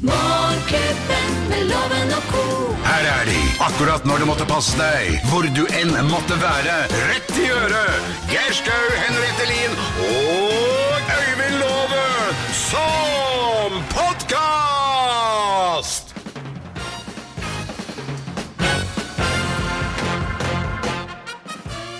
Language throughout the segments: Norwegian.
Morgenklubben med loven og ko. Her er de, akkurat når du måtte passe deg, hvor du enn måtte være. Rett i øret! Geir Skau, Henriette Lien og Øyvind Låve som podkast!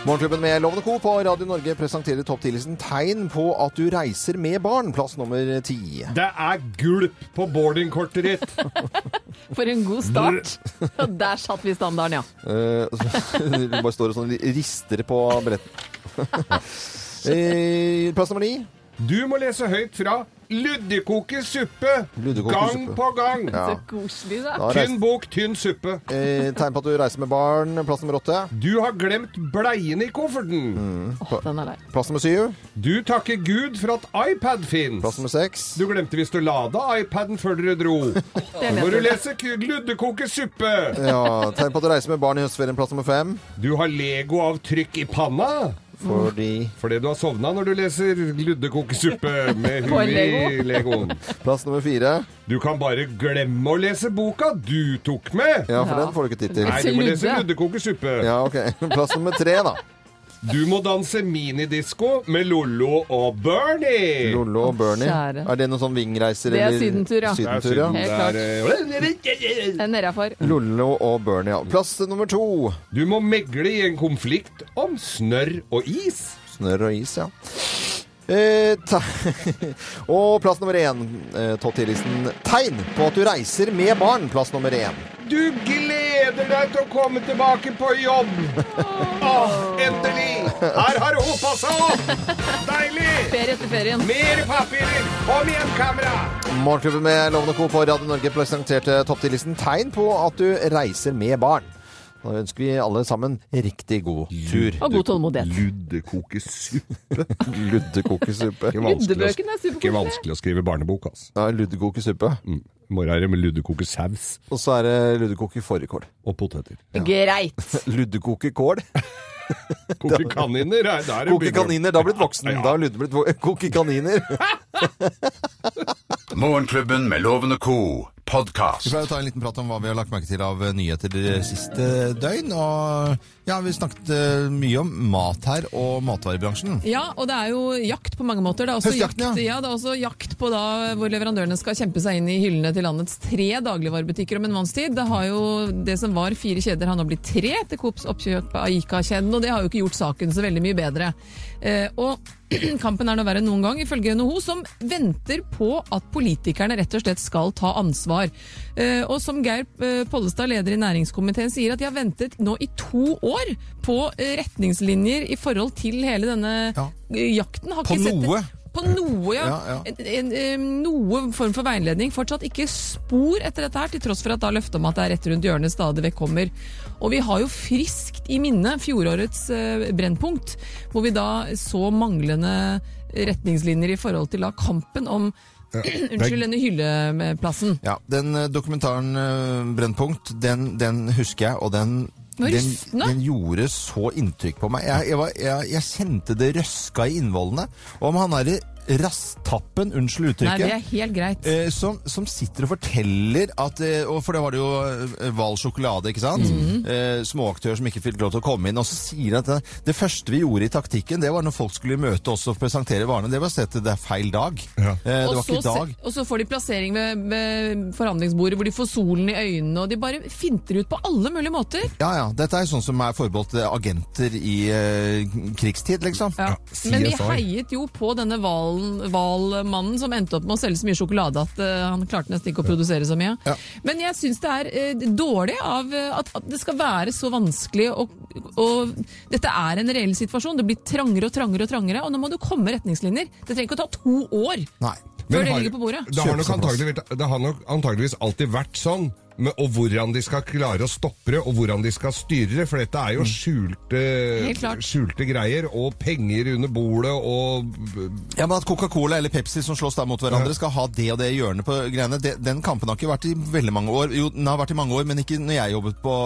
Morgenklubben med Lovende Co. på Radio Norge presenterer topp 10-listen tegn på at du reiser med barn. Plass nummer ti. Det er gulp på boardingkortet ditt. For en god start. Og der satt vi standarden, ja. Eh, Du bare står og sånn rister på brettet. Eh, Plass nummer ni. Du må lese høyt fra Luddekoke suppe Luddekoke gang suppe. på gang. Ja. Så koselig, da. Da Tynn reiser, bok, tynn suppe. eh, tegn på at du reiser med barn. Plass nummer åtte. Du har glemt bleiene i kofferten. Mm. Å, den er der. Plass nummer syv. Du takker Gud for at iPad fins. Plass nummer seks. Du glemte hvis du lada iPaden før dere dro. Det Må vet du du. lese K- Luddekoke suppe. Ja, tegn på at du reiser med barn i høstferien. Plass nummer fem. Du har Lego-avtrykk i panna. Fordi Fordi du har sovna når du leser Luddekoke suppe med På en huet i Legoen. Plass nummer fire. Du kan bare glemme å lese boka du tok med. Ja, for Ja. den får du ikke tid til. Nei, du må lese Ludde. luddekokesuppe. Ja, ok. Plass nummer tre, da. Du må danse minidisko med Lollo og Bernie. Lollo og Bernie. Kjære. Er det noen sånn vingreiser? Det er eller- sydentur, ja. Det er eh, Sydentur, ja. synd. Helt Det er, eh, Den er jeg for. Lollo og Bernie, ja. Plass nummer to. Du må megle i en konflikt om snørr og is. Snørr og is, ja. Eh, te- og plass nummer én, eh, topp 10-listen. Tegn på at du reiser med barn. Plass nummer én. Du gleder deg til å komme tilbake på jobb. Åh, endelig! Her har det hopa seg opp! Deilig! Ferie etter ferien. Mer papirer! Kom igjen, kamera! Morgenklubben med Lovende Co. på Radio Norge presenterte topp 10-listen tegn på at du reiser med barn. Da ønsker vi alle sammen riktig god tur. Og god tålmodighet. Luddekokesuppe. Luddekokesuppe. Ikke vanskelig å- Luddebøkene er altså. ikke superkoselige. vanskelig å skrive barnebok, altså. Ja, luddekokesuppe. Mm. Morgen er det med luddekokesaus Og så er det luddekoke fårikål. og poteter. Greit. Luddekoke kål. Koke kaniner, er- da er det Koke begynner- kaniner. Da har blitt voksen. Da har Ludde blitt vo koke kaniner. Morgenklubben med Loven og Co. Vi podkast. pleier å ta en liten prat om hva vi har lagt merke til av eh, nyheter eh, siste døgn. Og ja, vi snakket eh, mye om mat her og matvarebransjen. Ja, og det er jo jakt på mange måter. Det er også jakt, Høstjakten, ja. ja. det er også jakt på da hvor leverandørene skal kjempe seg inn i hyllene til landets tre dagligvarebutikker om en måneds tid. Det, har jo, det som var fire kjeder, har nå blitt tre etter Coops oppkjøp av Ica-kjeden, og det har jo ikke gjort saken så veldig mye bedre. Eh, og kampen er nå verre enn noen gang, ifølge NHO, som venter på at politikerne rett og slett skal ta ansvar. Eh, og som Geir eh, Pollestad, leder i næringskomiteen, sier at de har ventet nå i to år på eh, retningslinjer i forhold til hele denne Ja. Eh, jakten har På ikke sett noe. På noe, ja. Ja, ja. En, en, em, noe form for veiledning. Fortsatt ikke spor etter dette her, til tross for at da løftet om at det er rett rundt hjørnet stadig vekk kommer. Og vi har jo friskt i minne fjorårets eh, Brennpunkt, hvor vi da så manglende retningslinjer i forhold til da kampen om Unnskyld, denne hylleplassen. Ja, Den eh, dokumentaren eh, Brennpunkt, den, den husker jeg, og den var den, rystende. den gjorde så inntrykk på meg. Jeg, jeg, var, jeg, jeg kjente det røska i innvollene. Og om han derre rasstappen, unnskyld Nei, uttrykket det er helt greit. Eh, som, som sitter og forteller at eh, og For det var det jo eh, Val sjokolade, ikke sant? Mhm. Eh, Småaktør som ikke fikk lov til å komme inn. Og så sier han at det, det første vi gjorde i taktikken, det var når folk skulle i møte oss og presentere varene. Det var å si at det er feil dag. Ja. Eh, det Og var så, ikke i dag. se- og så får de plassering ved, ved forhandlingsbordet hvor de får solen i øynene, og de bare finter ut på alle mulige måter. Ja, ja. Dette er sånn som er forbeholdt eh, agenter i eh, krigstid, liksom. Ja. Men vi heiet jo på denne hvalen- hvalmannen som endte opp med å selge så mye sjokolade at eh, han klarte nesten ikke å produsere så mye. Ja. Men jeg syns det er eh, dårlig av eh, at, at det skal være så vanskelig å og Dette er en reell situasjon. Det blir trangere og trangere og trangere, og nå må det komme retningslinjer. Det trenger ikke å ta to år Nei. før Men det har- ligger på bordet. Det har, nok Kjøpesentraplass. antageligvis- det har nok antageligvis alltid vært sånn men, og hvordan de skal klare å stoppe det, og hvordan de skal styre det. For dette Mm. er jo skjulte, Helt klart. skjulte greier, og penger under bordet og Ja, men At Coca-Cola eller Pepsi som slåss da mot hverandre, skal ha det og det hjørnet på greiene det, Den kampen har ikke vært i veldig mange år. Jo, den har vært i mange år, men ikke når jeg jobbet på,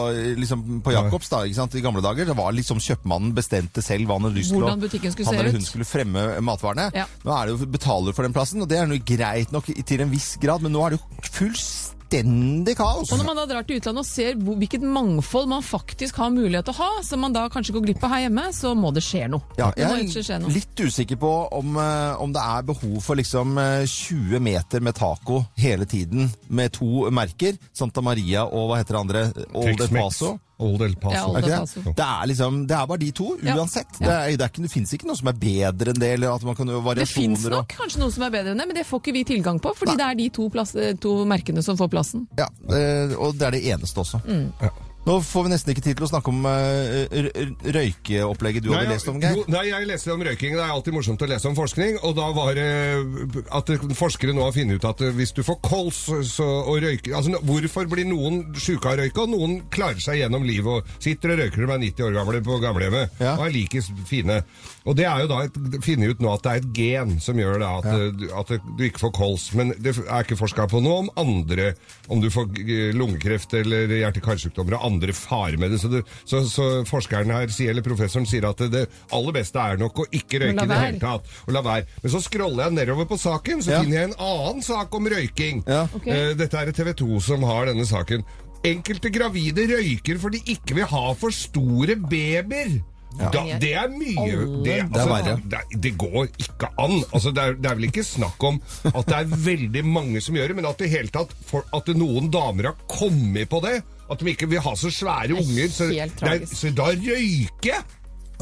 liksom, på Jacobs da, ikke sant? i gamle dager. Det var liksom kjøpmannen bestemte selv hva han hadde lyst til å Hvordan butikken skulle Han se eller ut. hun skulle fremme fremme matvarene. Ja. Nå er det jo betaler for den plassen, og det er noe greit nok i- til en viss grad, men nå er det jo fullstendig kaos. Og når man da drar til utlandet og ser hvor, hvilket mangfold man faktisk har mulighet til å ha, som man da kanskje går glipp av her hjemme, så må det skje noe. Ja, det må jeg ikke skje er noe. litt usikker på om, eh, om det er behov for liksom eh, 20 meter med taco hele tiden, med to merker, Santa Maria og hva heter det andre? Old El Tex-Mex. Paso. Old El Paso. Ja, Old Er El ikke Paso. Det? Det, er liksom, det er bare de to, Ja. uansett. Det, er, det, er ikke, det finnes ikke noe som er bedre enn det, eller at man kan gjøre Det fins variasjoner. og- nok kanskje noe som er bedre enn det, men det får ikke vi tilgang på, fordi det er de to, plass, eh, to merkene som får plassen. Ja, eh, og det er det eneste også. Mm. Ja. Nå får vi nesten ikke tid til å snakke om eh, r- r- røykeopplegget du Nei, hadde ja, lest om, Geir. jo, nei, jeg leste om røyking. Det er alltid morsomt å lese om forskning. Og da var det eh, at forskere nå har funnet ut at eh, hvis du får kols så, og røyker altså, Hvorfor blir noen sjuke av røyke, og noen klarer seg gjennom livet og sitter og røyker når de er 90 år gamle på gamlehjemmet Ja. og er like fine? Og det er jo da et, funnet ut nå at det er et gen som gjør det at, eh, du- at du ikke får kols. Men det er ikke forska på noe om andre Om du får eh, lungekreft eller hjerte-karsykdommer og andre farer med det. Så, du, så, så forskeren her sier, eller professoren sier at det aller beste er nok å ikke Men la røyke i det være. hele tatt. Og la være. Men så scroller jeg nedover på saken, så Ja. finner jeg en annen sak om røyking. Ja. Ok. Eh, Dette er TV 2 som har denne saken. Enkelte gravide røyker fordi de ikke vil ha for store babyer. Da, det er mye det, Det er altså, verre. det, det går ikke an. Altså, det, er, det er vel ikke snakk om at det er veldig mange som gjør det, men at, det i hele tatt, for, at noen damer har kommet på det. At de ikke vil ha så svære unger. Så, helt det er, tragisk. så da røyker jeg!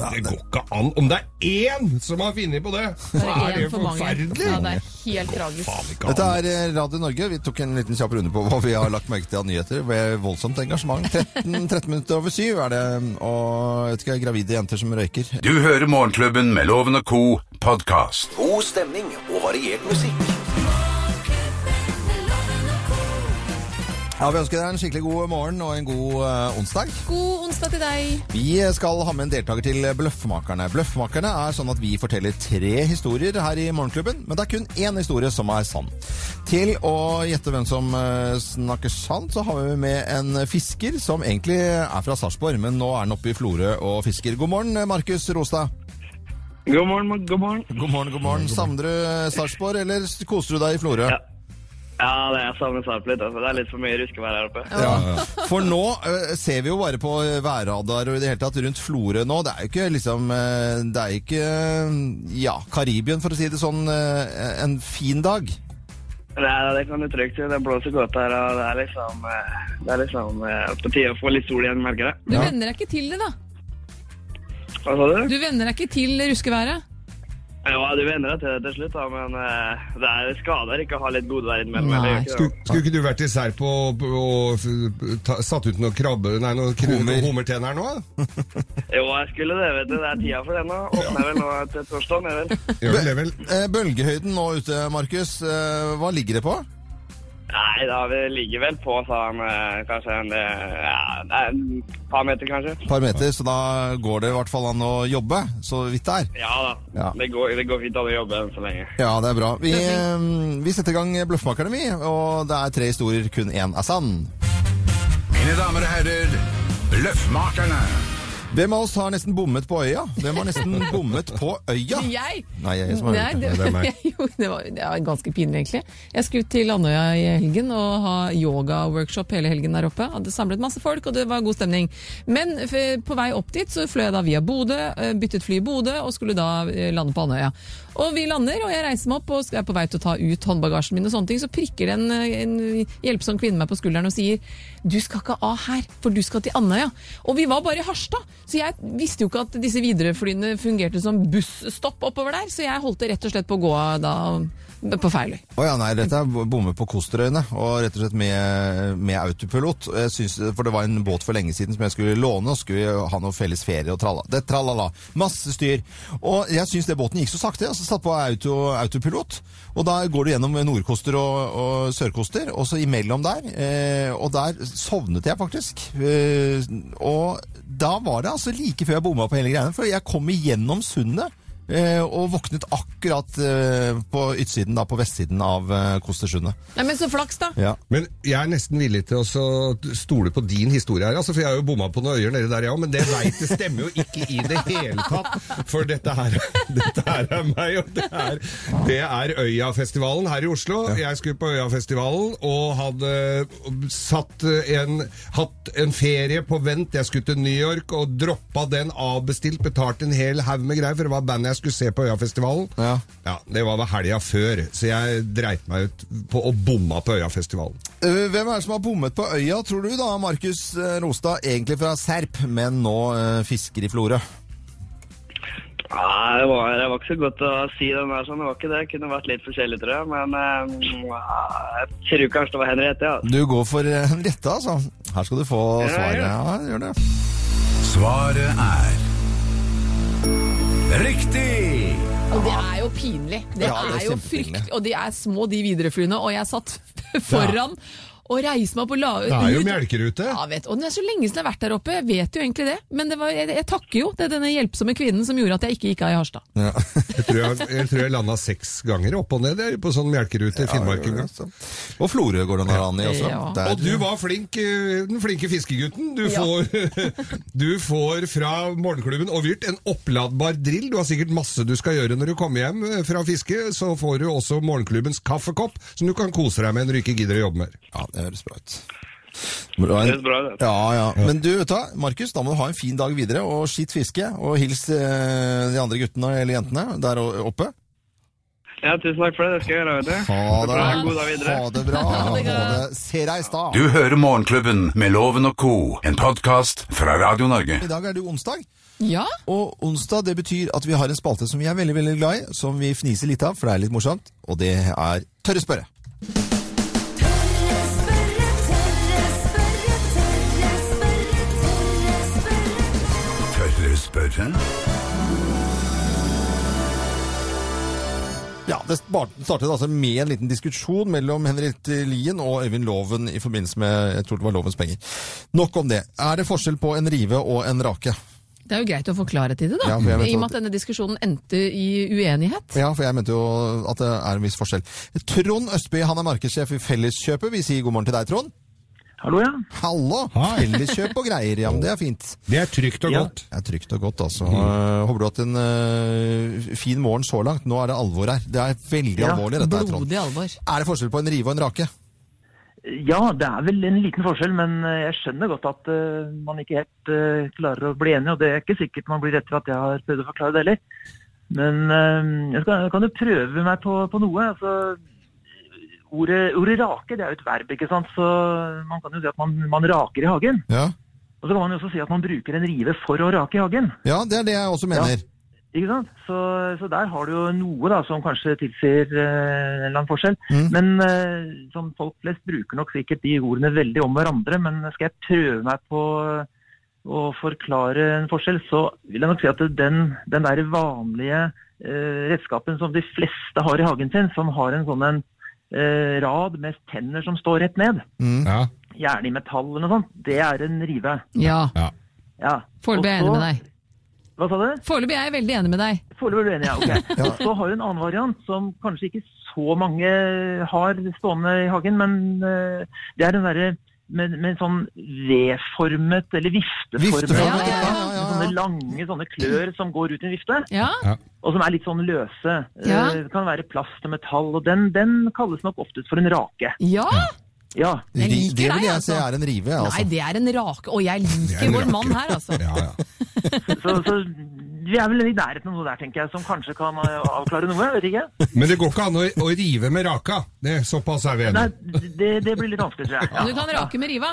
Det går ikke an. Om det er én som har funnet på det, så Bare er det en for mange. forferdelig! Ja, det er helt tragisk. Faen ikke Dette an. er eh, Radio Norge. Vi tok en liten kjapp runde på hva vi har lagt merke til av nyheter. Ved voldsomt engasjement. 13, 13 minutter over syv er det, og jeg vet ikke, gravide jenter som røyker. Du hører Morgenklubben med Loven og Co. podkast. God stemning og variert musikk. med Loven og co. Ja, Vi ønsker deg en skikkelig god morgen og en god eh, onsdag. God onsdag til deg. Vi skal ha med en deltaker til Bløffmakerne. Bløffmakerne er sånn at vi forteller tre historier her i Morgenklubben, men det er kun én historie som er sann. Til å gjette hvem som eh, snakker sant, så har vi med en fisker som egentlig er fra Sarpsborg, men nå er han oppe i Florø og fisker. God morgen, Markus Rostad. God morgen, god morgen. God morgen, god morgen. Savner du Sarpsborg, eller koser du deg i Florø? Ja. Ja, det er samme sarp litt. Altså. Det er litt for mye ruskevær her oppe. Ja. For nå eh, ser vi jo bare på eh, værradar og i det hele tatt rundt Florø nå. Det er jo ikke liksom eh, Det er jo ikke eh, ja, Karibien, for å si det sånn, eh, en fin dag. Nei, det kan du trygt si. Det blåser godt her, og det er liksom, eh, det er liksom eh, på tide å få litt sol igjen, merker jeg. Du venner deg ikke til det, da. Hva sa du? Du venner deg ikke til ruskeværet. Ja, du venner deg til det til slutt, da, men eh, det er skader ikke å ha litt godvær innimellom. Nei. eller gjør ikke det? Skulle, skulle ikke du vært i Serp og, og f- ta, satt ut noen krabbe... Nei, noen kru- Hummer. hummertenner nå? da? Jo, jeg skulle det, vet du. Det er tida for det nå. Åpner vel nå til torsdag, er vel? Gjør vel det vel? Eh, Bølgehøyden nå ute, Markus, eh, hva ligger det på? Nei, da vi ligger vel på sånn eh, kanskje en eh, ja, det er et par meter, kanskje. Et par meter, så da går det i hvert fall an å jobbe, så vidt det er. Ja da. Ja. Det, går, det går fint an å jobbe enn så lenge. Ja, det er bra. Vi, eh, vi setter i gang Bløffmakerne, vi. Og det er tre historier, kun én er sann. Mine damer og herrer, Bløffmakerne. Hvem av oss har nesten bommet på øya? Hvem har nesten bommet på øya? Jeg Nei, jeg som har Nei, gjort det. det, det er meg. jeg gjorde- det, var, det var ganske pinlig, egentlig. Jeg skulle ut til Andøya i helgen og ha yoga-workshop hele helgen der oppe. Hadde samlet masse folk, og det var god stemning. Men f på vei opp dit så fløy jeg da via Bodø, eh, byttet fly i Bodø, og skulle da eh, lande på Andøya. Og vi lander, og jeg reiser meg opp og skal- er på vei til å ta ut håndbagasjen min, og sånne ting, så prikker det en, eh, en hjelpsom kvinne meg på skulderen og sier du skal ikke av her, for du skal til Andøya. Og vi var bare i Harstad, så jeg visste jo ikke at disse videreflyene fungerte som busstopp oppover der, så jeg holdt det rett og slett på å gå av da på feil øy. Å ja, nei, dette er bomme på Kosterøyene, og rett og slett med, med autopilot. Og Jeg synes, for det var en båt for lenge siden som jeg skulle låne, og skulle ha noe felles ferie og tralla. Det, tralala. Masse styr. Og jeg syns det båten gikk så sakte, altså satt på auto, autopilot. Og da går du gjennom Nordkoster og, og Sørkoster, og så imellom der. Eh, og der sovnet jeg faktisk. Eh, og da var det altså like før jeg bomma på hele greiene, for jeg kom igjennom sundet. Eh, og våknet akkurat eh, på utsiden, da, på vestsiden av eh, Kostersundet. Nei, men så flaks, da! Ja. Men jeg er nesten villig til å så stole på din historie her, altså, for jeg har jo bomma på noen øyer nede der, ja, men det veit det stemmer jo ikke i det hele tatt. For dette her, dette her er meg, og det er, det er Øyafestivalen her i Oslo. Jeg skulle på Øyafestivalen og hadde satt en, hatt en ferie på vent. Jeg skulle til New York og droppa den avbestilt, betalte en hel haug med greier, for det var bandet jeg skulle se på Øyafestivalen. Ja. Ja, det var vel helga før, så jeg dreit meg ut på å bomma på Øyafestivalen. Eh, Hvem er det som har bommet på øya, tror du da, Markus eh, Rostad? Egentlig fra Serp, men nå eh, fisker i Florø. Nei, det var, det var ikke så godt å si den der sånn. Det var ikke det. Det kunne vært litt forskjellig, tror jeg. Men eh, jeg tror kanskje det var Henriette, ja. Du går for eh, Henriette, altså. Her skal du få ja. svaret. Ja, gjør det. Svaret er Riktig! Og det er jo pinlig. Det, Ja, det er er, jo kjempepinlig. frykt, og de er små, de videreflyene, og jeg satt foran og reiste meg opp og la ut. Det er jo melkerute. Ja, vet, og det er så lenge siden jeg har vært der oppe, jeg vet jo egentlig det. Men det var, jeg, jeg takker jo til denne hjelpsomme kvinnen som gjorde at jeg ikke gikk av i Harstad. Ja. Jeg tror jeg, jeg, tror jeg landa seks ganger opp og ned jeg, på sånn melkerute i Finnmark. en gang. Og Florø går den her an i også. Ja. Der- Og du var flink, eh, den flinke fiskegutten. Du får, du får fra morgenklubben og Vyrt en oppladbar drill. Du har sikkert masse du skal gjøre når du kommer hjem eh, fra fiske. Så får du også morgenklubbens kaffekopp, som du kan kose deg med når du ikke gidder å jobbe mer. Ja, det høres bra ut. Bra. Det høres bra ut, det. Ja, ja. Men du, vet du, hva, Markus, da må du ha en fin dag videre, og skitt fiske, og hils eh, de andre guttene eller jentene der o- oppe. Ja, tusen takk for det. Det skal jeg gjøre, vet du. Ha det, Ha en god dag videre. ha det bra. Ha det. Se deg i stad. Du hører Morgenklubben med Loven og co., en podkast fra Radio Norge. I dag er det jo onsdag, Ja, og onsdag det betyr at vi har en spalte som vi er veldig veldig glad i, som vi fniser litt av, for det er litt morsomt, og det er Tørre spørre. Tørre spørre, tørre spørre, tørre spørre, tørre spørre. Tørre spørre? Ja, Det spar- startet altså med en liten diskusjon mellom Henriette Lien og Øyvind Loven i forbindelse med jeg tror det var lovens penger. Nok om det. Er det forskjell på en rive og en rake? det er jo greit å få klarhet i det, da. Ja, for jeg vet I og hva- med at denne diskusjonen endte i uenighet. Ja, for jeg mente jo at det er en viss forskjell. Trond Østby han er markedssjef i Felleskjøpet. Vi sier god morgen til deg, Trond. Hallo, ja. Hallo! Hei. Felleskjøp og greier. Ja, men det er fint. Det er trygt og Ja. godt. Det er trygt og godt, altså. Eh, håper du har hatt en eh, fin morgen så langt. Nå er det alvor her. Det er veldig Ja, alvorlig, dette her, Trond. Blodig alvor. Er det forskjell på en rive og en rake? Ja, det er vel en liten forskjell, men eh, jeg skjønner godt at eh, man ikke helt eh, klarer å bli enig, og det er ikke sikkert man blir etter at jeg har prøvd å forklare det heller. Men eh, jeg skal, kan jo prøve meg på, på noe. Altså, ordet, ordet rake det er jo et verb, ikke sant? så man kan jo si at man, man raker i hagen. Ja. Og så kan man jo også si at man bruker en rive for å rake i hagen. ja, det er det jeg også mener. Ikke sant? Så, så der har du jo noe da, som kanskje tilsier eh, en eller annen forskjell. Mm. Men eh, som folk flest bruker nok sikkert de ordene veldig om hverandre. Men skal jeg prøve meg på å forklare en forskjell, så vil jeg nok si at den, den der vanlige eh, redskapen som de fleste har i hagen sin, som har en sånn en eh, rad med tenner som står rett ned, Ja. gjerne i metall eller noe sånt, det er en rive. Ja, Ja. foreløpig er jeg enig Og så- med deg. Hva sa du? Foreløpig er jeg veldig enig med deg. Foreløpig er du enig, ja. ok. Og Så har du en annen variant som kanskje ikke så mange har stående i hagen, men eh, det er den derre med, med sånn V-formet eller vifteformet. Vifteformet, ja, ja, ja, ja, ja. Sånne lange sånne klør som går ut i en vifte, Ja, og som er litt sånn løse. Eh, Ja. Det kan være plast og metall, og den, den kalles nok oftest for en rake. ja. Ja, Ri- Jeg liker det deg, vil jeg altså. si er en rive. Nei, Altså. det er en rake, og jeg er en liker vår rake. mann her, altså. Ja, ja. så, så vi er vel i nærheten av noe der, tenker jeg, som kanskje kan eh, avklare noe, vet ikke. Men det går ikke an å, å rive med raka. Det, såpass er vi Nei, enige. det, det blir litt vanskelig, tror jeg. Men Du kan rake med riva.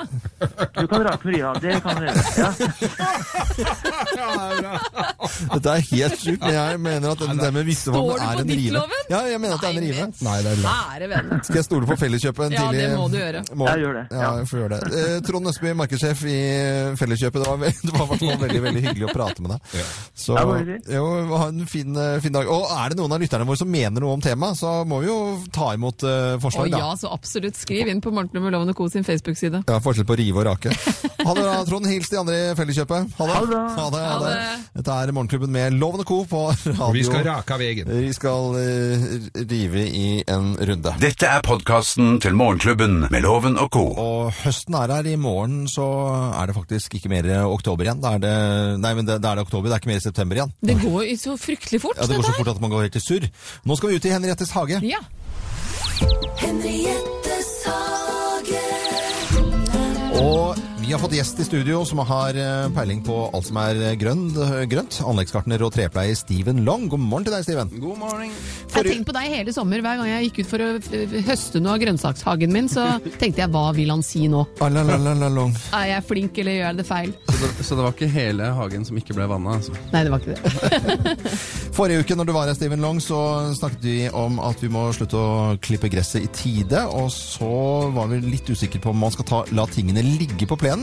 Du kan rake med rya. Det kan du gjøre. Ja. Dette er helt sjukt, men jeg mener at den, den Står med vissevann du er på en rive. diktloven? Ja, jeg mener at det er en Nei, rive. men- Nei, det er lov. Ære venn. Skal jeg stole på Felleskjøpet en Ja, tidlig det må du gjøre. morgen? Jeg gjør det, Ja, ja. jeg får gjøre det. Eh, Trond Østby, markedssjef i Felleskjøpet. Det var, ve- det var i hvert fall veldig veldig hyggelig å prate med deg. Så Ja, bare hyggelig. jo, ha en fin, eh, fin dag. Og er det noen av lytterne våre som mener noe om temaet, så må vi jo ta imot eh, Å forslag, da. ja, så absolutt. Skriv inn på Morgenklubben med Loven og Co. sin Facebook-side. Ja, forskjell på rive og rake. Ha det bra, Trond. Hils de andre i Felleskjøpet. Ha det. Ha det bra. Ha det, Ha det. Dette er Morgenklubben med Loven og Co. på radio. Og vi skal rake av vegen. Vi skal eh, rive i en runde. Dette er podkasten til Morgenklubben med Loven og co. Og høsten er her. I morgen så er det faktisk ikke mer oktober igjen. Da er det, nei, men det, da er det oktober. Det er ikke mer september igjen. Det går jo så fryktelig fort, Ja, Det går dette så fort at man går helt i surr. Nå skal vi ut i Henriettes hage. her. Ja. Henriettes hage. Og vi har fått gjest i studio som har eh, peiling på alt som er eh, grønn, grønt. Anleggsgartner og trepleier Steven Long. God morgen til deg, Steven. God morgen. Forrige- Jeg har tenkt på deg hele sommer. Hver gang jeg gikk ut for å eh, høste noe av grønnsakshagen min, så tenkte jeg hva vil han si nå? Alalalala Long. Er jeg flink, eller gjør jeg det feil? Så det, så det var ikke hele hagen som ikke ble vanna? Altså. Nei, det var ikke det. Forrige uke når du var her, Steven Long, så snakket vi om at vi må slutte å klippe gresset i tide. Og så var vi litt usikre på om man skal ta, la tingene ligge på plenen.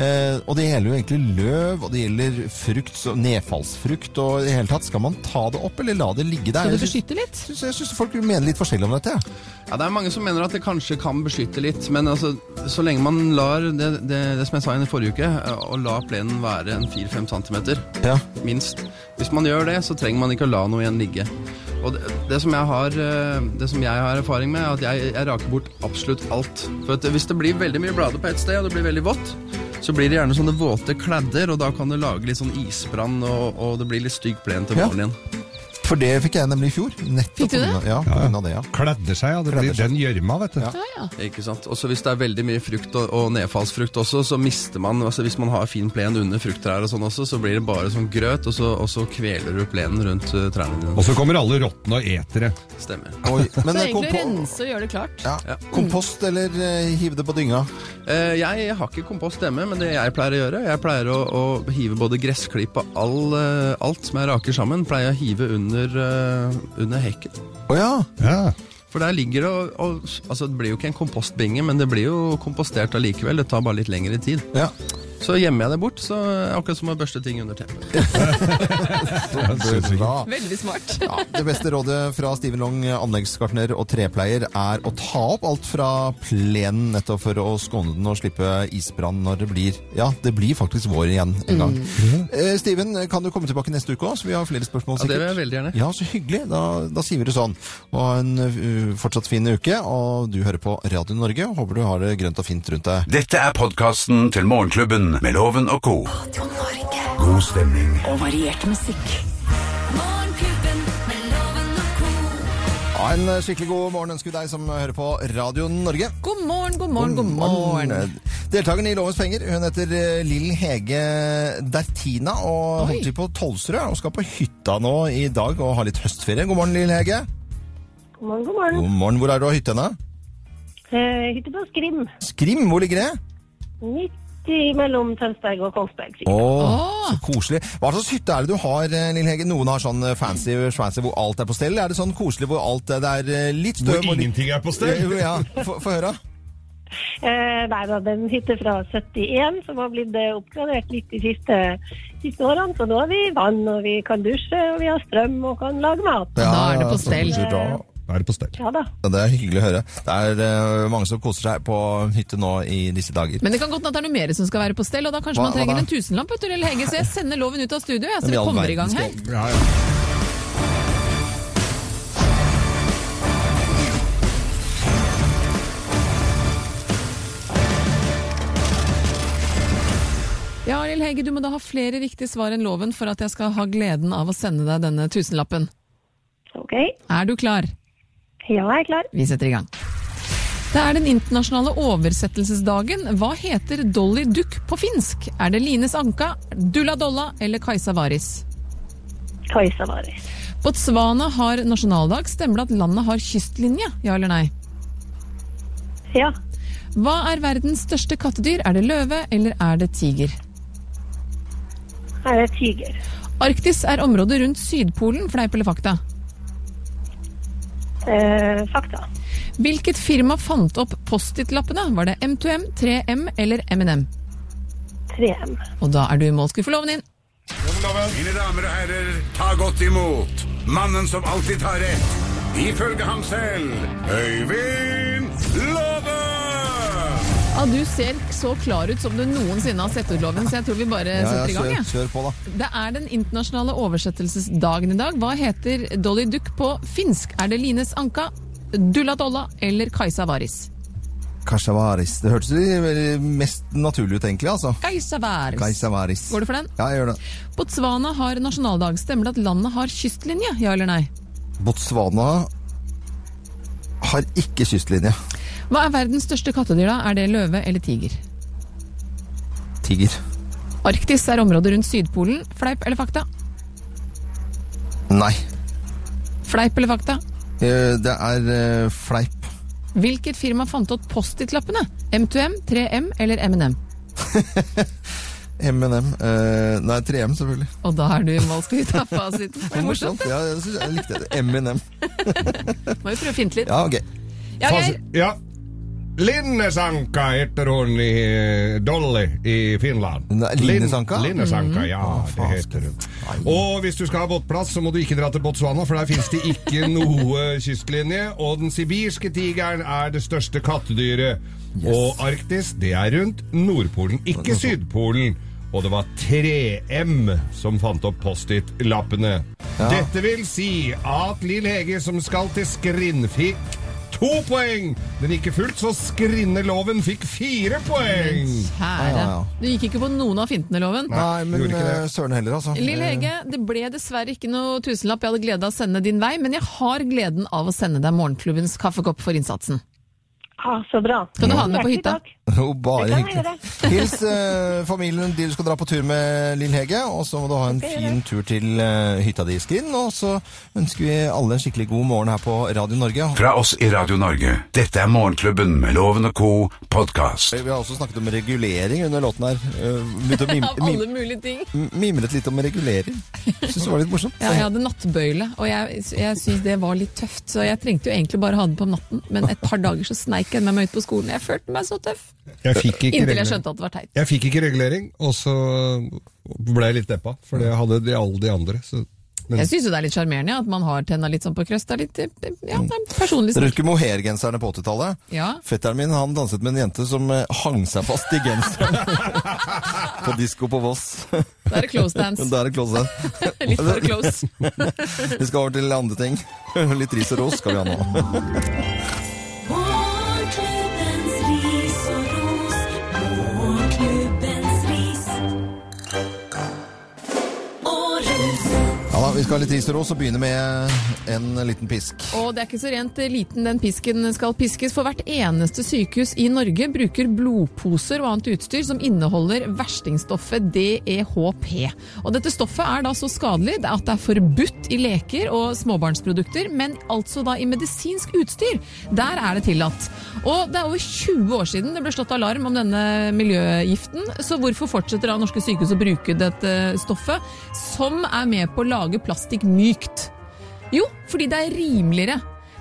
Eh, og det gjelder jo egentlig løv, og det gjelder frukt, så- nedfallsfrukt og i det hele tatt. Skal man ta det opp, eller la det ligge der? Skal du Jeg syns- beskytte litt? syns- Jeg syns folk mener litt forskjellig om dette. ja. Ja, det er mange som mener at det kanskje kan beskytte litt, men altså, så lenge man lar det, det, det som jeg sa i forrige uke, eh, å la plenen være en 4-5 centimeter, Ja. minst. Hvis man gjør det, så trenger man ikke å la noe igjen ligge. Og det, det, som jeg har, eh, det som jeg har erfaring med, er at jeg, jeg raker bort absolutt alt. For at hvis det blir veldig mye blader på ett sted, og det blir veldig vått, så blir det gjerne sånne våte kladder, og da kan du lage litt sånn isbrann, og, og det blir litt stygg plen til Ja. våren igjen. For det fikk jeg nemlig i fjor. Nettopp Fikk du det? på grunn av- Ja, på grunn av det, ja. Kledde seg, ja. Det Kledde blir seg. den gjørma, vet du. Ja, ja. Ikke sant? Også hvis det er veldig mye frukt og, og nedfallsfrukt også, så mister man altså Hvis man har fin plen under frukttrær og sånn også, så blir det bare sånn grøt, og så, og så kveler du plenen rundt eh, trærne dine. Og så kommer alle råtne og etere. Stemmer. Oi, men Så eh, egentlig kompo rense og gjøre det klart. ja. kompost eller eh, hive det på dynga? Eh, jeg har ikke kompost hjemme, men det jeg pleier å gjøre Jeg pleier å, å hive både gressklipp og all, eh, alt som jeg raker sammen, pleier jeg å hive under, eh, under hekken. Å ja. Ja. For der ligger det og, og Altså, det blir jo ikke en kompostbinge, men det blir jo kompostert allikevel. Det tar bare litt lengre tid. ja. Så gjemmer jeg det bort, så er det akkurat som å børste ting under teppet. Bra. Veldig smart. Ja, det beste rådet fra Steven Long, anleggsgartner og trepleier, er å ta opp alt fra plenen nettopp for å skåne den og slippe isbrann når det blir Ja, det blir faktisk vår igjen en gang. Eh, Steven, kan du komme tilbake neste uke òg? Så vi har flere spørsmål, Ja, det sikkert. vil jeg veldig gjerne. Ja, så hyggelig. Da, da sier vi det sånn. Og ha en uh, fortsatt fin uke. Og du hører på Radio Norge. Håper du har det grønt og fint rundt deg. Dette er podkasten til Morgenklubben med Loven og co. Radio Norge. God stemning og variert musikk. Morgenklubben med Loven og co. Ha en eh, skikkelig god morgen ønsker vi deg som hører på Radio Norge. God morgen, god morgen, god morgen. Deltakeren i Lovens penger, hun heter eh, Lill Hege Dertina og holder til på Tolsrød og skal på hytta nå i dag og ha litt høstferie. God morgen, Lill Hege. God morgen, god morgen. God morgen. Hvor er du av hytta? henne? Eh, hytte på Skrim. Skrim, hvor ligger det? Midt i mellom Tønsberg og Kongsberg. Å, Åh. så koselig. Hva slags hytte er det du har, eh, Lill Hege? Noen har sånn eh, fancy, fancy hvor alt er på stell. Er det sånn koselig hvor alt eh, det er eh, litt støv? Hvor og litt- ingenting er på Jo, stell. Ja, få få høre. Eh, nei da, det er en hytte fra 71 som har blitt eh, oppgradert litt de siste, siste årene. Så nå har vi vann, og vi kan dusje, og vi har strøm og kan lage mat. Da er det på så stell. koselig, bra. Da er det på stell. Ja da. Ja, det er hyggelig å høre. Det er eh, mange som koser seg på hytte nå i disse dager. Men det kan godt hende at det er noe mer som skal være på stell, og da kanskje Hva- man trenger hva da? en tusenlapp, vet du, Lille Hege, så jeg sender loven ut av studio, jeg, så Men i det all kommer i gang verden her. skal- Ja, ja. Ja, Lille Hege, du må da ha flere riktige svar enn loven for at jeg skal ha gleden av å sende deg denne tusenlappen. OK. Er du klar? Ja, jeg er klar. Vi setter i gang. Det er den internasjonale oversettelsesdagen. Hva heter Dolly Duck på finsk? Er det Lines Anka, Dulla Dolla eller Kajsa Varis? Kajsa Varis. Botswana har nasjonaldag. Stemmer det at landet har kystlinje? Ja eller nei? Ja. Hva er verdens største kattedyr? Er det løve, eller er det tiger? Her er tiger. Arktis er området rundt Sydpolen, fleip eller fakta? Eh, fakta. Hvilket firma fant opp Post-It-lappene? Var det M2M, 3M eller M&M? 3M. Og da er du i mål, skuffeloven din. Mine damer og herrer, ta godt imot mannen som alltid tar rett, ifølge ham selv, Øyvind Låve! Ja, du ser så klar ut som du noensinne har sett ut, Loven, så jeg tror vi bare Ja, ja, setter i gang. kjør, jeg. kjør på, da. Det er den internasjonale oversettelsesdagen i dag. Hva heter Dolly Duck på finsk? Er det Lines Anka, Dulla Dolla eller Kajsa Varis? Kajsavaris. Det hørtes jo veldig mest naturlig ut, egentlig. altså. Kajsa Varis. Kajsavaris. Går du for den? Ja, jeg gjør det. Botswana har nasjonaldag. Stemmer det at landet har kystlinje, ja eller nei? Botswana har ikke kystlinje. Hva er verdens største kattedyr, da? Er det løve eller tiger? Tiger. Arktis er området rundt Sydpolen. Fleip eller fakta? Nei. Fleip eller fakta? Eh, Det er eh, fleip. Hvilket firma fant opp Post-It-lappene? M2M, 3M eller M&M? M&M. Eh, Nei, 3M, selvfølgelig. Og da er du i mål, skal vi ta fasiten. Det er morsomt. Ja, jeg, synes jeg likte det. M&M. Må jo prøve å finte litt. Ja, ok. Ja, Geir. Fas- ja. Linnesanka heter hun i eh, Dolly i Finland. Linnesanka? Lin- Linnesanka, Mm. ja. Det heter hun. Og hvis du skal ha båtplass, så må du ikke dra til Botswana, for der fins det ikke noe kystlinje. Og den sibirske tigeren er det største kattedyret. Og Arktis, det er rundt Nordpolen, ikke Sydpolen. Og det var 3M som fant opp Post-It-lappene. Dette vil si at Lill Hege, som skal til Skrinn, fikk to poeng. Men ikke fullt, så Skrinneloven fikk fire poeng. Kjære. Du gikk ikke på noen av fintene, Loven. Nei, men eh, søren heller, altså. Lill Hege, det ble dessverre ikke noe tusenlapp jeg hadde glede av å sende din vei, men jeg har gleden av å sende deg morgenklubbens kaffekopp for innsatsen. Ah, så bra. Skal du ha den med på hytta? Jo, bare Det kan hyggelig. jeg Hils eh, familien de du skal dra på tur med, Lill Hege. Og så må du ha en fin tur til eh, hytta di i Skrin. Og så ønsker vi alle en skikkelig god morgen her på Radio Norge. Fra oss i Radio Norge, dette er Morgenklubben med Loven og Co. podkast. Vi har også snakket om regulering under låten her. Eh, Begynte å mim Av alle mulige ting. mim mimret litt om regulering. Syns det var litt morsomt. Ja, jeg hadde nattbøyle, og jeg, jeg syntes det var litt tøft. Så jeg trengte jo egentlig bare ha den på om natten, men et par dager så sneik jeg med meg ut på skolen. Jeg følte meg så tøff. Jeg fikk ikke Inntil jeg regulering. skjønte at det var teit. Jeg fikk ikke regulering, og så ble jeg litt deppa, for det hadde de alle de andre. Så, men, Jeg syns jo det er litt sjarmerende ja, at man har tenna litt sånn på krøst. Det er litt eh, ja, det er personlig Dere snakk. husker mohairgenserne på 80-tallet? Ja. Fetteren min han danset med en jente som eh, hang seg fast i genseren på disko på Voss. Da er det close dance. Da er det close dance. Litt for close. Vi skal over til andre ting. Litt ris og ros skal vi ha nå. Morgenklubbens ris og ros. Morgenklubbens ris og ros. Ja da, Vi skal ha litt ris og ros og begynne med en liten pisk. Og det er ikke så rent eh, liten den pisken skal piskes, for hvert eneste sykehus i Norge bruker blodposer og annet utstyr som inneholder verstingstoffet DEHP. Og dette stoffet er da så skadelig at det er forbudt i leker og småbarnsprodukter, men altså da i medisinsk utstyr. Der er det tillatt. Og det er over 20 år siden det ble slått alarm om denne miljøgiften, så hvorfor fortsetter da norske sykehus å bruke dette stoffet, som er med på å lage plastikk mykt? Jo, fordi det er rimeligere.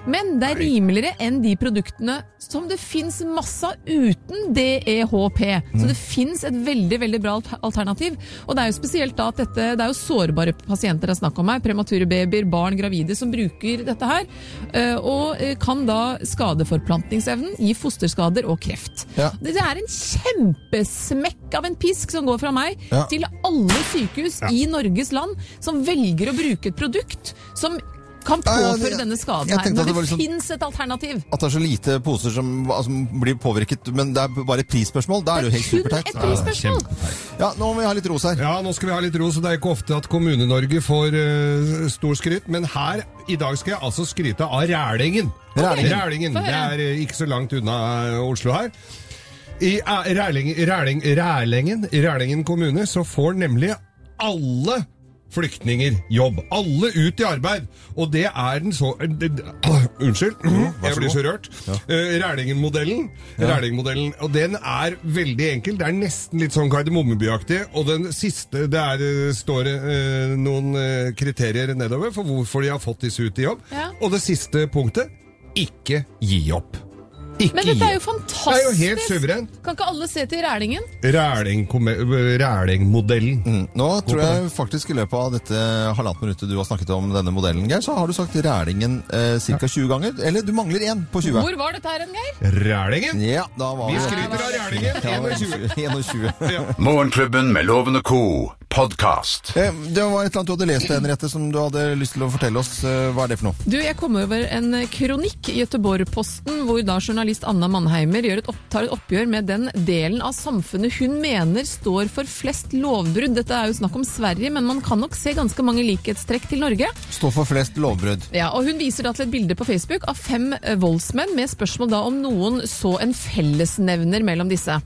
Men det er rimeligere enn de produktene som det fins masse av uten DEHP. Så det fins et veldig veldig bra alt- alternativ. Og det er jo spesielt da at dette, det er jo sårbare pasienter det er snakk om her. Premature babyer, barn, gravide som bruker dette her. eh, Og eh, kan da skade forplantningsevnen, gi fosterskader og kreft. Ja. Det det er en kjempesmekk av en pisk som går fra meg Ja. til alle sykehus i Norges land som velger å bruke et produkt som kan Ja, ja, påføre det- denne skaden jeg her. tenkte at Når det det, var liksom- finnes et alternativ. At det er så lite poser som altså, blir påvirket, men det er bare et prisspørsmål. Da er det jo helt Kun superteit. et prisspørsmål. Ja, nå må vi ha litt ros her. ja, nå skal vi ha litt ros, og det er ikke ofte at Kommune-Norge får eh, stor skryt, men her i dag skal jeg altså skryte av Rælingen. Rælingen. Rælingen. Få Det høre. er eh, ikke så langt unna eh, Oslo her. I eh, Ræling, Ræling, Rælingen, i Rælingen kommune så får nemlig alle flyktninger jobb. Alle ut i arbeid. Og eh, det er den så... Unnskyld, vær jeg så blir så god. rørt. Eh, Rælingen-modellen. Rælingen-modellen, og Den er veldig enkel. Det er nesten litt sånn Kardemommeby-aktig. Og den siste Det er, eh, står eh, noen eh, kriterier nedover for hvorfor de har fått disse ut i jobb. Ja. Og det siste punktet ikke gi opp. Ikke Men dette er jo gi opp. fantastisk! Det er jo helt suverent. Kan ikke alle se til Rælingen? Ræling-komme- Rælingmodellen. Nå Gå tror på jeg faktisk i løpet av dette halvannet minuttet du har snakket om denne modellen, Geir, så har du sagt Rælingen eh, ca. 20 ganger. Eller du mangler én på 20. Hvor var dette her, hen, Geir? Rælingen? Ja, da var Vi det- skryter av Rælingen. Ja, det var 21. Morgenklubben med Loven og Co. podkast. Eh, Det var et eller annet du hadde lest, Henriette, som du hadde lyst til å fortelle oss. Eh, Hva er det for noe? Du, jeg kom over en kronikk i Göteborg-posten hvor da journalist Anna Mannheimer gjør et opp, tar et oppgjør med den delen av samfunnet hun mener står for flest lovbrudd. Dette er jo snakk om Sverige, men man kan nok se ganske mange likhetstrekk til Norge. Stå for flest lovbrudd. Ja, og Hun viser da til et bilde på Facebook av fem eh, voldsmenn, med spørsmål da om noen så en fellesnevner mellom disse.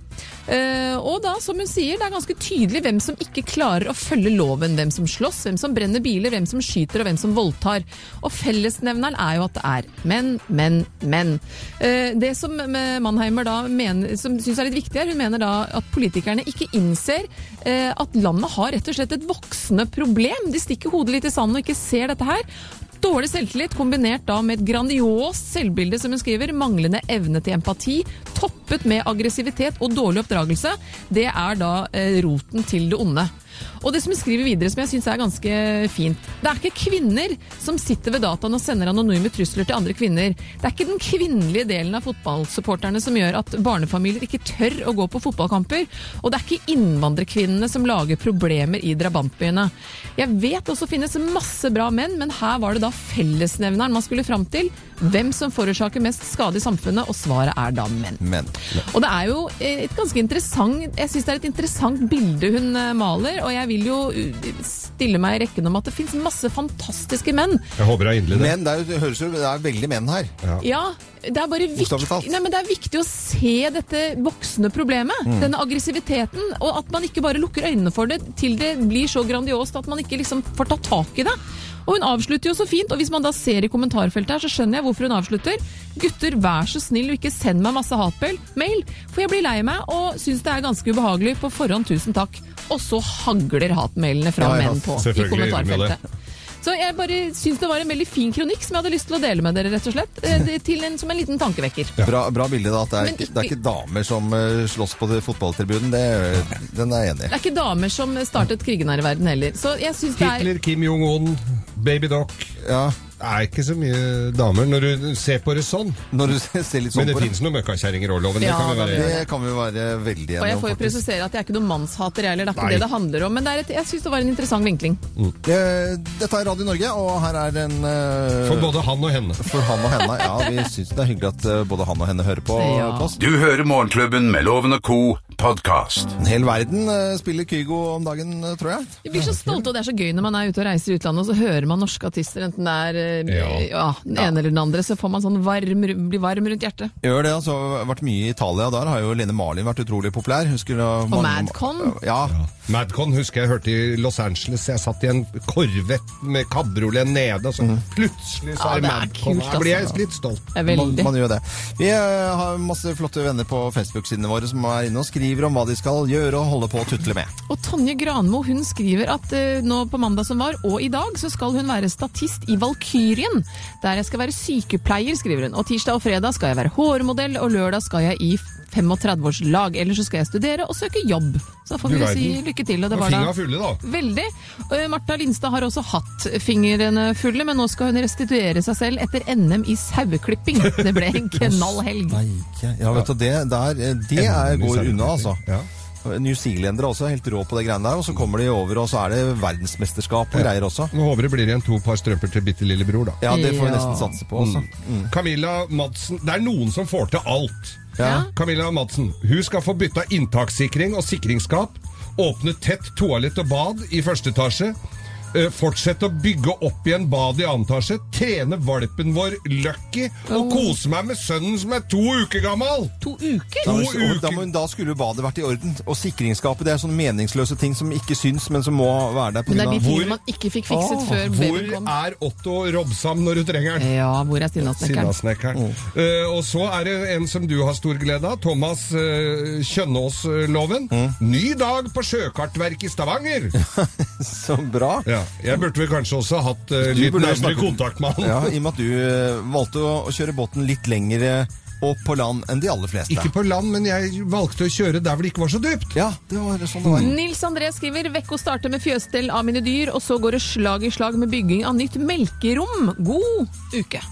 Eh, og da, som hun sier, det er ganske tydelig hvem som ikke klarer å følge loven. Hvem som slåss, hvem som brenner biler, hvem som skyter og hvem som voldtar. Og fellesnevneren er jo at det er menn, menn, menn. Eh, det som eh, Mannheimer da mener, som syns er litt viktig her, hun mener da at politikerne ikke innser eh, at landet har rett og slett et voksende problem. De stikker hodet litt i sanden og ikke ser dette her. Dårlig selvtillit kombinert da med et grandiost selvbilde, som hun skriver, manglende evne til empati, toppet med aggressivitet og dårlig oppdragelse, det er da eh, roten til det onde. Og det som hun skriver videre, som jeg syns er ganske fint Det er ikke kvinner som sitter ved dataen og sender anonyme trusler til andre kvinner. Det er ikke den kvinnelige delen av fotballsupporterne som gjør at barnefamilier ikke tør å gå på fotballkamper. Og det er ikke innvandrerkvinnene som lager problemer i drabantbyene. Jeg vet også finnes masse bra menn, men her var det da fellesnevneren man skulle fram til. Hvem som forårsaker mest skade i samfunnet, og svaret er da menn. Men. Og det er jo eh, et ganske interessant Jeg synes det er et interessant bilde hun eh, maler, og jeg vil jo eh, stille meg i rekken om at det finnes masse fantastiske menn. Jeg håper det er inderlig, det. Men det er, jo- det høres jo, det er veldig menn her. Ja, det er bare Bokstavelig viktig, talt. nei, men det er viktig å se dette voksende problemet. Mm. Denne aggressiviteten. Og at man ikke bare lukker øynene for det til det blir så grandiost at man ikke liksom får tatt tak i det. Og hun avslutter jo så fint, og hvis man da ser i kommentarfeltet her, så skjønner jeg hvorfor hun avslutter. Gutter, vær så snill og ikke send meg masse hatmail, for jeg blir lei meg og syns det er ganske ubehagelig. På forhånd, tusen takk. Og så hagler hatmailene fra Ja, ja, menn på i selvfølgelig gjør de jo det. kommentarfeltet. Så jeg bare syns det var en veldig fin kronikk som jeg hadde lyst til å dele med dere, rett og slett. eh, det- Til en, som en liten tankevekker. Bra, bra bilde, da. At det er, Men det er ikke damer som eh, slåss på det- fotballtribunen. Det, den er jeg enig Det i. er ikke damer som startet krigen her i verden heller. Så jeg syns det er Hitler, Kim Jong-un, Baby Doc. Det er ikke så mye damer når du ser på det sånn. Når du ser litt sånn Men det på det. fins noen møkkakjerringer òg, Loven. Ja, det kan vi være Det kan vi være veldig Og jeg enige om. får jo faktisk. presisere at jeg er ikke noen mannshater, jeg heller. Det er ikke Nei. det det handler om. Men det er et, jeg syns det var en interessant vinkling. Eh, Dette er Radio Norge, og her er en eh, For både han og henne. For han og henne, ja. Vi syns det er hyggelig at eh, både han og henne hører på. på oss. Du hører Morgenklubben med Loven og Co. podkast. En hel verden eh, spiller Kygo om dagen, eh, tror jeg. Vi blir så stolte, og det er så gøy når man er ute og reiser i utlandet, og så hører man norske artister, enten det er eh, Ja. ja, den ene eller den andre, så får man sånn varm, ru- blir varm rundt hjertet. Gjør det, altså. har Vært mye i Italia. Der har jo Lene Marlin vært utrolig populær. Hun skulle ha Og mange- Madcon. Ja. Madcon husker jeg hørte i Los Angeles. Jeg satt i en Corvette med kabriolet nede, og så plutselig Ja, så er det er Madcon kult, Her blir jeg altså. litt stolt. Man, man gjør det. Vi eh, har masse flotte venner på Facebook-sidene våre som er inne og skriver om hva de skal gjøre og holde på å tutle med. Og Tonje Granmo hun skriver at eh, nå på mandag som var, og i dag, så skal hun være statist i Valkyrien. Der jeg skal være sykepleier, skriver hun. Og tirsdag og fredag skal jeg være hårmodell, og lørdag skal jeg i 35-årslag. Ellers så skal jeg studere og søke jobb. Så da får Du vi jo verden. si lykke til. Og det Og var da fingra fulle, da. Veldig. Eh, Martha Lindstad har også hatt fingrene fulle, men nå skal hun restituere seg selv etter NM i saueklipping. Det ble en knallhelg. Steike. Ja, vet du, det, der, eh, det er, Endelig går unna, altså. selvtillit. Ja. New Zealandere også er helt rå på det greiene der, og så kommer de over, og så er det verdensmesterskap og greier også. Nå håper det blir igjen to par strømper til bitte lillebror, da. Ja, det får vi Ja. nesten satse på, altså. Mm. Camilla Madsen Det er noen som får til alt. Camilla Madsen Hun skal få bytta inntakssikring og sikringsskap. Åpne tett toalett og bad i første etasje. eh, fortsette å bygge opp igjen badet i annen etasje, trene valpen vår Lucky og kose meg med sønnen som er to uker gammel! To uker? Da, To og da, uker. må- da skulle jo badet vært i orden. Og sikringsskapet det er sånne meningsløse ting som ikke syns, men som må være der. på Men det er de grunn av- tingene man ikke fikk fikset Ah, før babyen kom. Hvor er Otto Robsam når du trenger den? Ja, hvor er Sinnasnekkeren? Sinnasnekkeren. Mm. Eh, og så er det en som du har stor glede av. Thomas eh, Kjønaas-loven. Mm. Ny dag på sjøkartverket i Stavanger! Så bra. Ja, jeg burde vel kanskje også hatt eh, Du litt burde jo nærmere snakke- kontakt med han. Ja, I og med at du eh, valgte å, å kjøre båten litt lengre opp på land enn de aller fleste. Ikke på land, men jeg valgte å kjøre der hvor det ikke var så dypt. Ja, det var sånn det var. Nils André skriver Vekko starter med fjøsstell av mine dyr, og så går det slag i slag med bygging av nytt melkerom. God uke.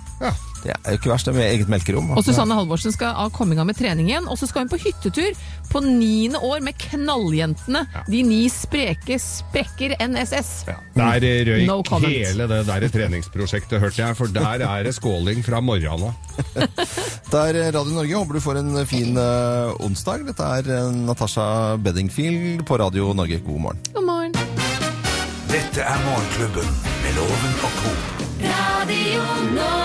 Det er jo ikke verst, det er med eget melkerom. Og Susanne Halvorsen skal ha komme i gang med trening igjen. Og så skal hun på hyttetur på niende år med Knalljentene. De ni spreke sprekker NSS. Mm. Der eh, røyk No comment. hele det der treningsprosjektet, hørte jeg, for der er det skåling fra morgenen av. Det er Radio Norge. Håper du får en fin eh, onsdag. Dette er eh, Natasha Beddingfield på Radio Norge. God morgen. God morgen. Dette er Morgenklubben med Loven og Co. Radio Norge.